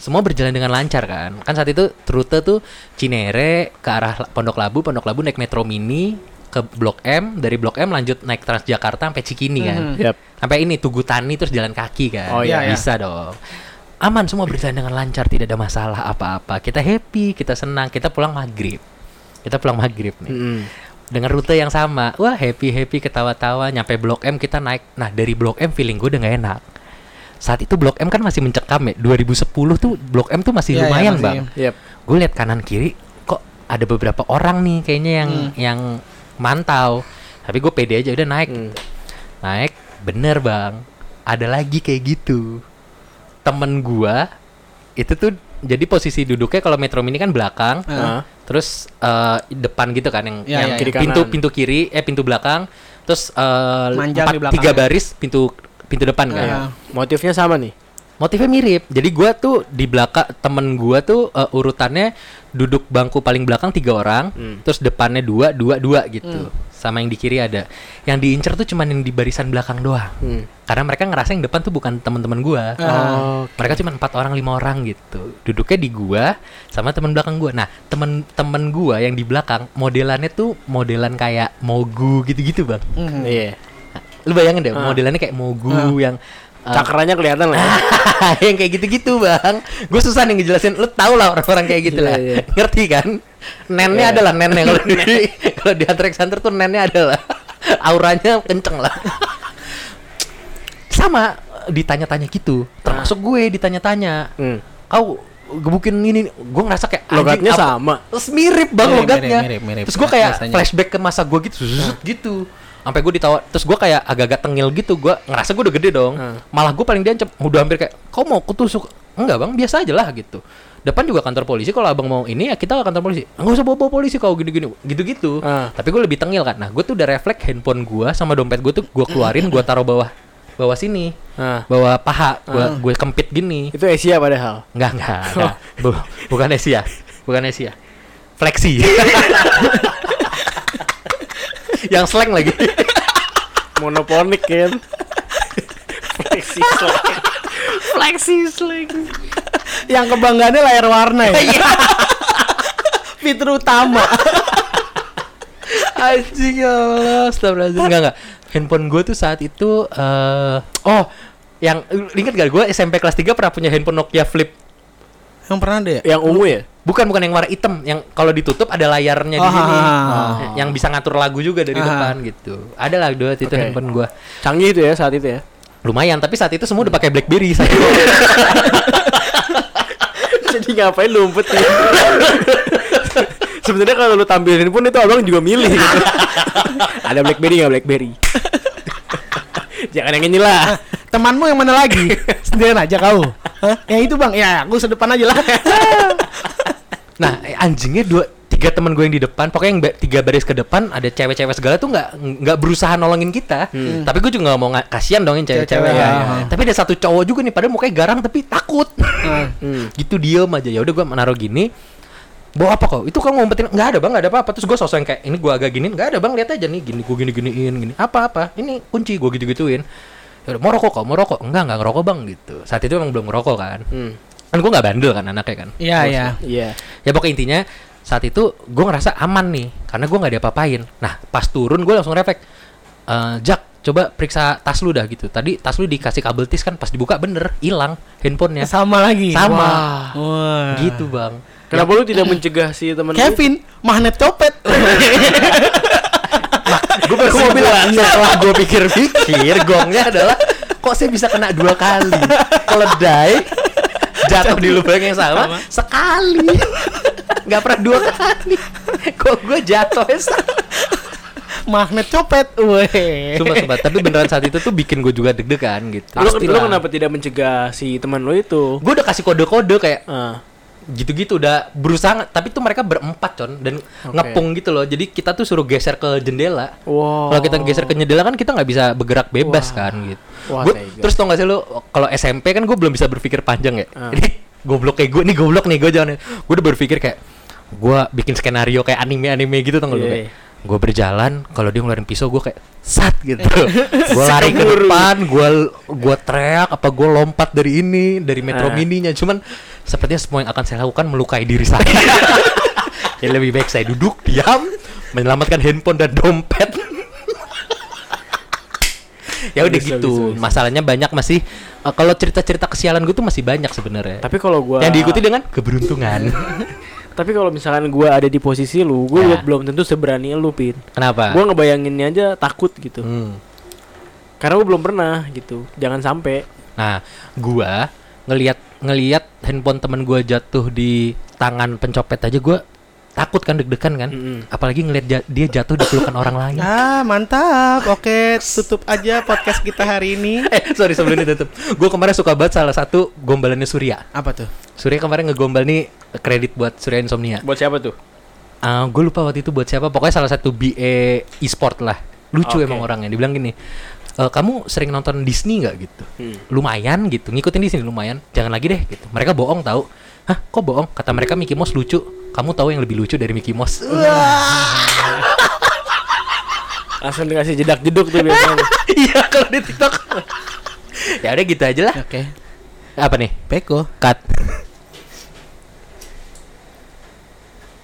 S3: semua berjalan dengan lancar kan kan saat itu rute tuh Cinere ke arah La- Pondok Labu Pondok Labu naik Metro Mini ke Blok M dari Blok M lanjut naik Transjakarta sampai Cikini kan
S2: Mhm.
S1: Yap.
S3: sampai ini Tugu Tani terus jalan kaki kan
S1: Oh,
S2: iya, iya.
S3: bisa dong aman semua berjalan dengan lancar tidak ada masalah apa-apa kita happy kita senang kita pulang maghrib kita pulang maghrib nih
S1: Hmm.
S3: dengan rute yang sama wah happy happy ketawa-tawa nyampe blok M kita naik nah dari blok M feeling gue udah gak enak saat itu blok M kan masih mencekam ya 2010 tuh blok M tuh masih
S2: Iya, iya,
S3: lumayan
S2: masih.
S3: bang
S1: Yap.
S3: gue lihat kanan kiri kok ada beberapa orang nih kayaknya yang
S2: Hmm.
S3: yang mantau tapi gue pede aja udah naik
S1: Hmm.
S3: naik bener bang ada lagi kayak gitu temen gua itu tuh jadi posisi duduknya kalau metro mini kan belakang
S1: Ah.
S3: terus eh, depan gitu kan yang,
S2: Iya,
S3: yang
S2: iya,
S1: iya.
S3: pintu
S1: Kiri kanan.
S3: pintu kiri eh pintu belakang terus eh,
S2: Manjang
S3: empat-
S2: di belakang
S3: tiga
S2: ya.
S3: baris pintu pintu depan kan
S2: Iya.
S1: Motifnya sama nih.
S3: motifnya mirip. Jadi gua tuh di belakang temen gua tuh uh, urutannya duduk bangku paling belakang tiga orang,
S1: Hmm.
S3: terus depannya dua, dua, dua gitu.
S2: Hmm.
S3: Sama yang di kiri ada. Yang diincer tuh cuman yang di barisan belakang doang.
S1: Hmm.
S3: Karena mereka ngerasa yang depan tuh bukan teman-teman gua.
S1: Ah.
S3: Mereka cuma empat orang lima orang gitu. Duduknya di gua sama teman belakang gua. Nah temen temen gua yang di belakang modelannya tuh modelan kayak mogu gitu-gitu bang.
S2: mhm.
S1: Iya.
S3: Lu bayangin deh
S1: Ah.
S3: modelannya kayak mogu yang uh,
S1: Cakranya kelihatan lah. ya.
S3: [LAUGHS] yang kayak gitu-gitu bang gue susah nih ngejelasin lu tau lah orang-orang kayak gitu lah
S1: Iya, iya.
S3: ngerti kan nennya
S1: Iya.
S3: adalah nennya kalau di
S1: [LAUGHS]
S3: kalau di Hunter x Hunter tuh nennya adalah auranya kenceng lah sama ditanya-tanya gitu termasuk
S1: Ah.
S3: gue ditanya-tanya
S1: Hmm.
S3: kau gebukin ini gue ngerasa kayak anjing,
S1: Logatnya
S3: apa-
S1: sama.
S3: Terus mirip bang
S2: Mirip,
S3: logatnya.
S2: mirip, mirip, mirip.
S3: Terus gue kayak
S2: Rasanya.
S3: flashback ke masa gue gitu, zzzz, gitu. Sampai gue ditawa, terus gue kayak agak-agak tengil gitu. Gue ngerasa gue udah gede dong.
S1: Hmm.
S3: Malah gue paling diancam. Udah hampir kayak, kau mau kutusuk? Enggak bang, biasa aja lah gitu. Depan juga kantor polisi. Kalau abang mau ini ya kita ke kantor polisi. Enggak usah bawa-bawa polisi kau gini-gini, gitu-gitu.
S1: Hmm.
S3: Tapi gue lebih tengil kan. Nah gue tuh udah refleks handphone gue sama dompet gue tuh gue keluarin, gue taruh bawah bawah sini,
S1: Ah.
S3: bawah paha. Gue gue kempit gini.
S1: Itu Asia padahal.
S3: Enggak, enggak,
S2: Oh.
S3: enggak. Bu- bukan Asia. Bukan Asia.
S2: [LAUGHS]
S3: Flexi. yang slang lagi.
S1: Monoponik kan. Flexi slang. Flexi slang.
S2: Yang kebanggaannya layar warna
S3: [LAUGHS]
S2: ya.
S3: Iya.
S2: Fitur utama.
S3: Anjing ya Allah, astagfirullahaladzim. Enggak, enggak. Handphone gue tuh saat itu eh oh, yang ingat gak gue SMP kelas 3 pernah punya handphone Nokia Flip.
S2: Yang pernah ada ya?
S1: Yang ungu ya?
S3: Bukan bukan yang warna hitam, yang kalau ditutup ada layarnya di
S2: Oh,
S3: sini.
S2: ah,
S3: Nah,
S1: ah.
S3: Yang bisa ngatur lagu juga dari
S2: Ah.
S3: depan gitu. Ada lah dua itu
S1: Oke.
S3: handphone gue.
S1: Canggih itu ya saat itu ya.
S3: Lumayan, tapi saat itu
S2: Hmm.
S3: semua udah pakai BlackBerry saya.
S2: [LAUGHS]
S1: [LAUGHS] Jadi ngapain lumput ya? Sebenarnya kalau lu tampilin pun itu abang juga milih gitu. [LAUGHS] Ada BlackBerry nggak BlackBerry? [LAUGHS] Jangan yang ini lah.
S2: Temanmu yang mana lagi? [LAUGHS] Sendirian aja kau. Hah? Ya itu bang, ya aku sedepan aja lah.
S3: Nah, eh, anjingnya dua tiga teman gue yang di depan, pokoknya yang ba- tiga baris ke depan ada cewek-cewek segala tuh nggak nggak berusaha nolongin kita. Tapi gue juga nggak mau nga- kasihan dongin cewek-cewek.
S2: Hmm. Cewek-cewek,
S3: ya.
S2: ya, ya.
S3: Tapi ada satu cowok juga nih, padahal mukanya garang tapi takut.
S2: Ah. Hmm.
S3: [LAUGHS] gitu diem aja. Ya udah gue menaruh gini. Bawa apa kok? Itu kamu ngumpetin? Nggak ada bang, nggak ada apa-apa. Terus gue sosok yang kayak ini gue agak giniin. Nggak ada bang, lihat aja nih. Gini gue gini-giniin, gini. Apa-apa? Ini kunci gue gitu-gituin. Ya udah, mau rokok kok, mau rokok. Enggak, enggak ngerokok bang gitu. Saat itu emang belum ngerokok kan.
S1: Hmm.
S3: Kan gue nggak bandel kan anaknya kan
S2: Iya ya.
S1: Iya.
S3: ya pokoknya intinya saat itu gue ngerasa aman nih karena gue nggak diapa-apain nah pas turun gue langsung refleks Eh, Jack coba periksa tas lu dah gitu tadi tas lu dikasih kabel tis kan pas dibuka bener hilang handphonenya
S2: Ya. Iya, Sama lagi.
S3: Sama.
S2: Wah. Wah.
S3: gitu bang
S1: Kenapa lu tidak mencegah si teman lu?
S2: Kevin, magnet [LAUGHS] copet.
S3: gue baru mau Ya, bilang setelah gue pikir-pikir gongnya adalah kok saya bisa kena dua kali keledai jatuh di lubang yang sama, sekali nggak pernah dua kali kok gue jatuhnya sama
S2: magnet copet. Weh.
S3: Sumpah, sumpah. Tapi beneran saat itu tuh bikin gue juga deg-degan gitu.
S1: Lu, lu kenapa tidak mencegah si teman lu itu?
S3: Gue udah kasih kode-kode kayak
S1: Ah.
S3: gitu-gitu udah berusaha tapi tuh mereka berempat con dan ngepung gitu loh jadi kita tuh suruh geser ke jendela
S1: Wow.
S3: kalau kita geser ke jendela kan kita nggak bisa bergerak bebas kan gitu
S1: Oh. Wah,
S3: Gua-
S1: tega.
S3: terus tau gak sih lo kalau SMP
S1: Ah.
S3: kan gue belum bisa berpikir panjang ya jadi goblok kayak gue nih goblok nih gue jangan gue udah berpikir kayak gue bikin skenario kayak anime-anime gitu tau gak lu
S1: Iya,
S3: kayak
S1: iya.
S3: gue berjalan kalau dia ngeluarin pisau gue kayak sat
S1: [LAUGHS]
S3: gitu gue lari ke depan gue gua teriak apa gue lompat dari ini dari
S1: Ah.
S3: metro mininya cuman sepertinya semua yang akan saya lakukan melukai diri
S1: [LAUGHS]
S3: saya ya lebih baik saya duduk diam menyelamatkan handphone dan dompet ya udah
S1: Bisa,
S3: gitu
S1: bisa, bisa.
S3: masalahnya banyak masih eh, kalau cerita-cerita kesialan gue tuh masih banyak sebenarnya
S1: Tapi kalau gua
S3: yang diikuti dengan [LAUGHS] keberuntungan
S1: Tapi kalau misalkan gua ada di posisi lu, gua
S3: Ya.
S1: juga belum tentu seberani lu, Pin.
S3: kenapa
S1: Gua ngebayanginnya aja takut gitu.
S3: Hmm.
S1: Karena gua belum pernah gitu. Jangan sampai.
S3: Nah, gua ngelihat ngelihat handphone temen gua jatuh di tangan pencopet aja gua takut kan deg-degan kan.
S1: Mm-mm.
S3: Apalagi ngelihat ja- dia jatuh di pelukan orang lain.
S2: Ah, mantap. Oke, tutup aja podcast kita hari ini.
S3: [LAUGHS] Eh, sorry sebelum ditutup. Gua kemarin suka banget salah satu gombalannya Surya.
S2: Apa tuh?
S3: Surya kemarin ngegombal nih kredit buat Surya Insomnia.
S1: Buat siapa tuh?
S3: Ah, gue lupa waktu itu buat siapa. Pokoknya salah satu BA e-sport lah. Lucu
S1: Oke.
S3: emang orangnya. Dibilang gini, "E, kamu sering nonton Disney nggak gitu?
S1: Hmm.
S3: Lumayan gitu. Ngikutin Disney lumayan. Jangan lagi deh gitu. Mereka bohong tahu. Hah, kok bohong? Kata mereka Mickey Mouse lucu. Kamu tahu yang lebih lucu dari Mickey Mouse?
S1: Langsung dikasih jedak jeduk tuh biasanya.
S3: [LAUGHS] Iya kalau [LAUGHS] di TikTok. ya udah gitu aja lah.
S2: Oke.
S3: Apa nih?
S2: Peko.
S3: Cut.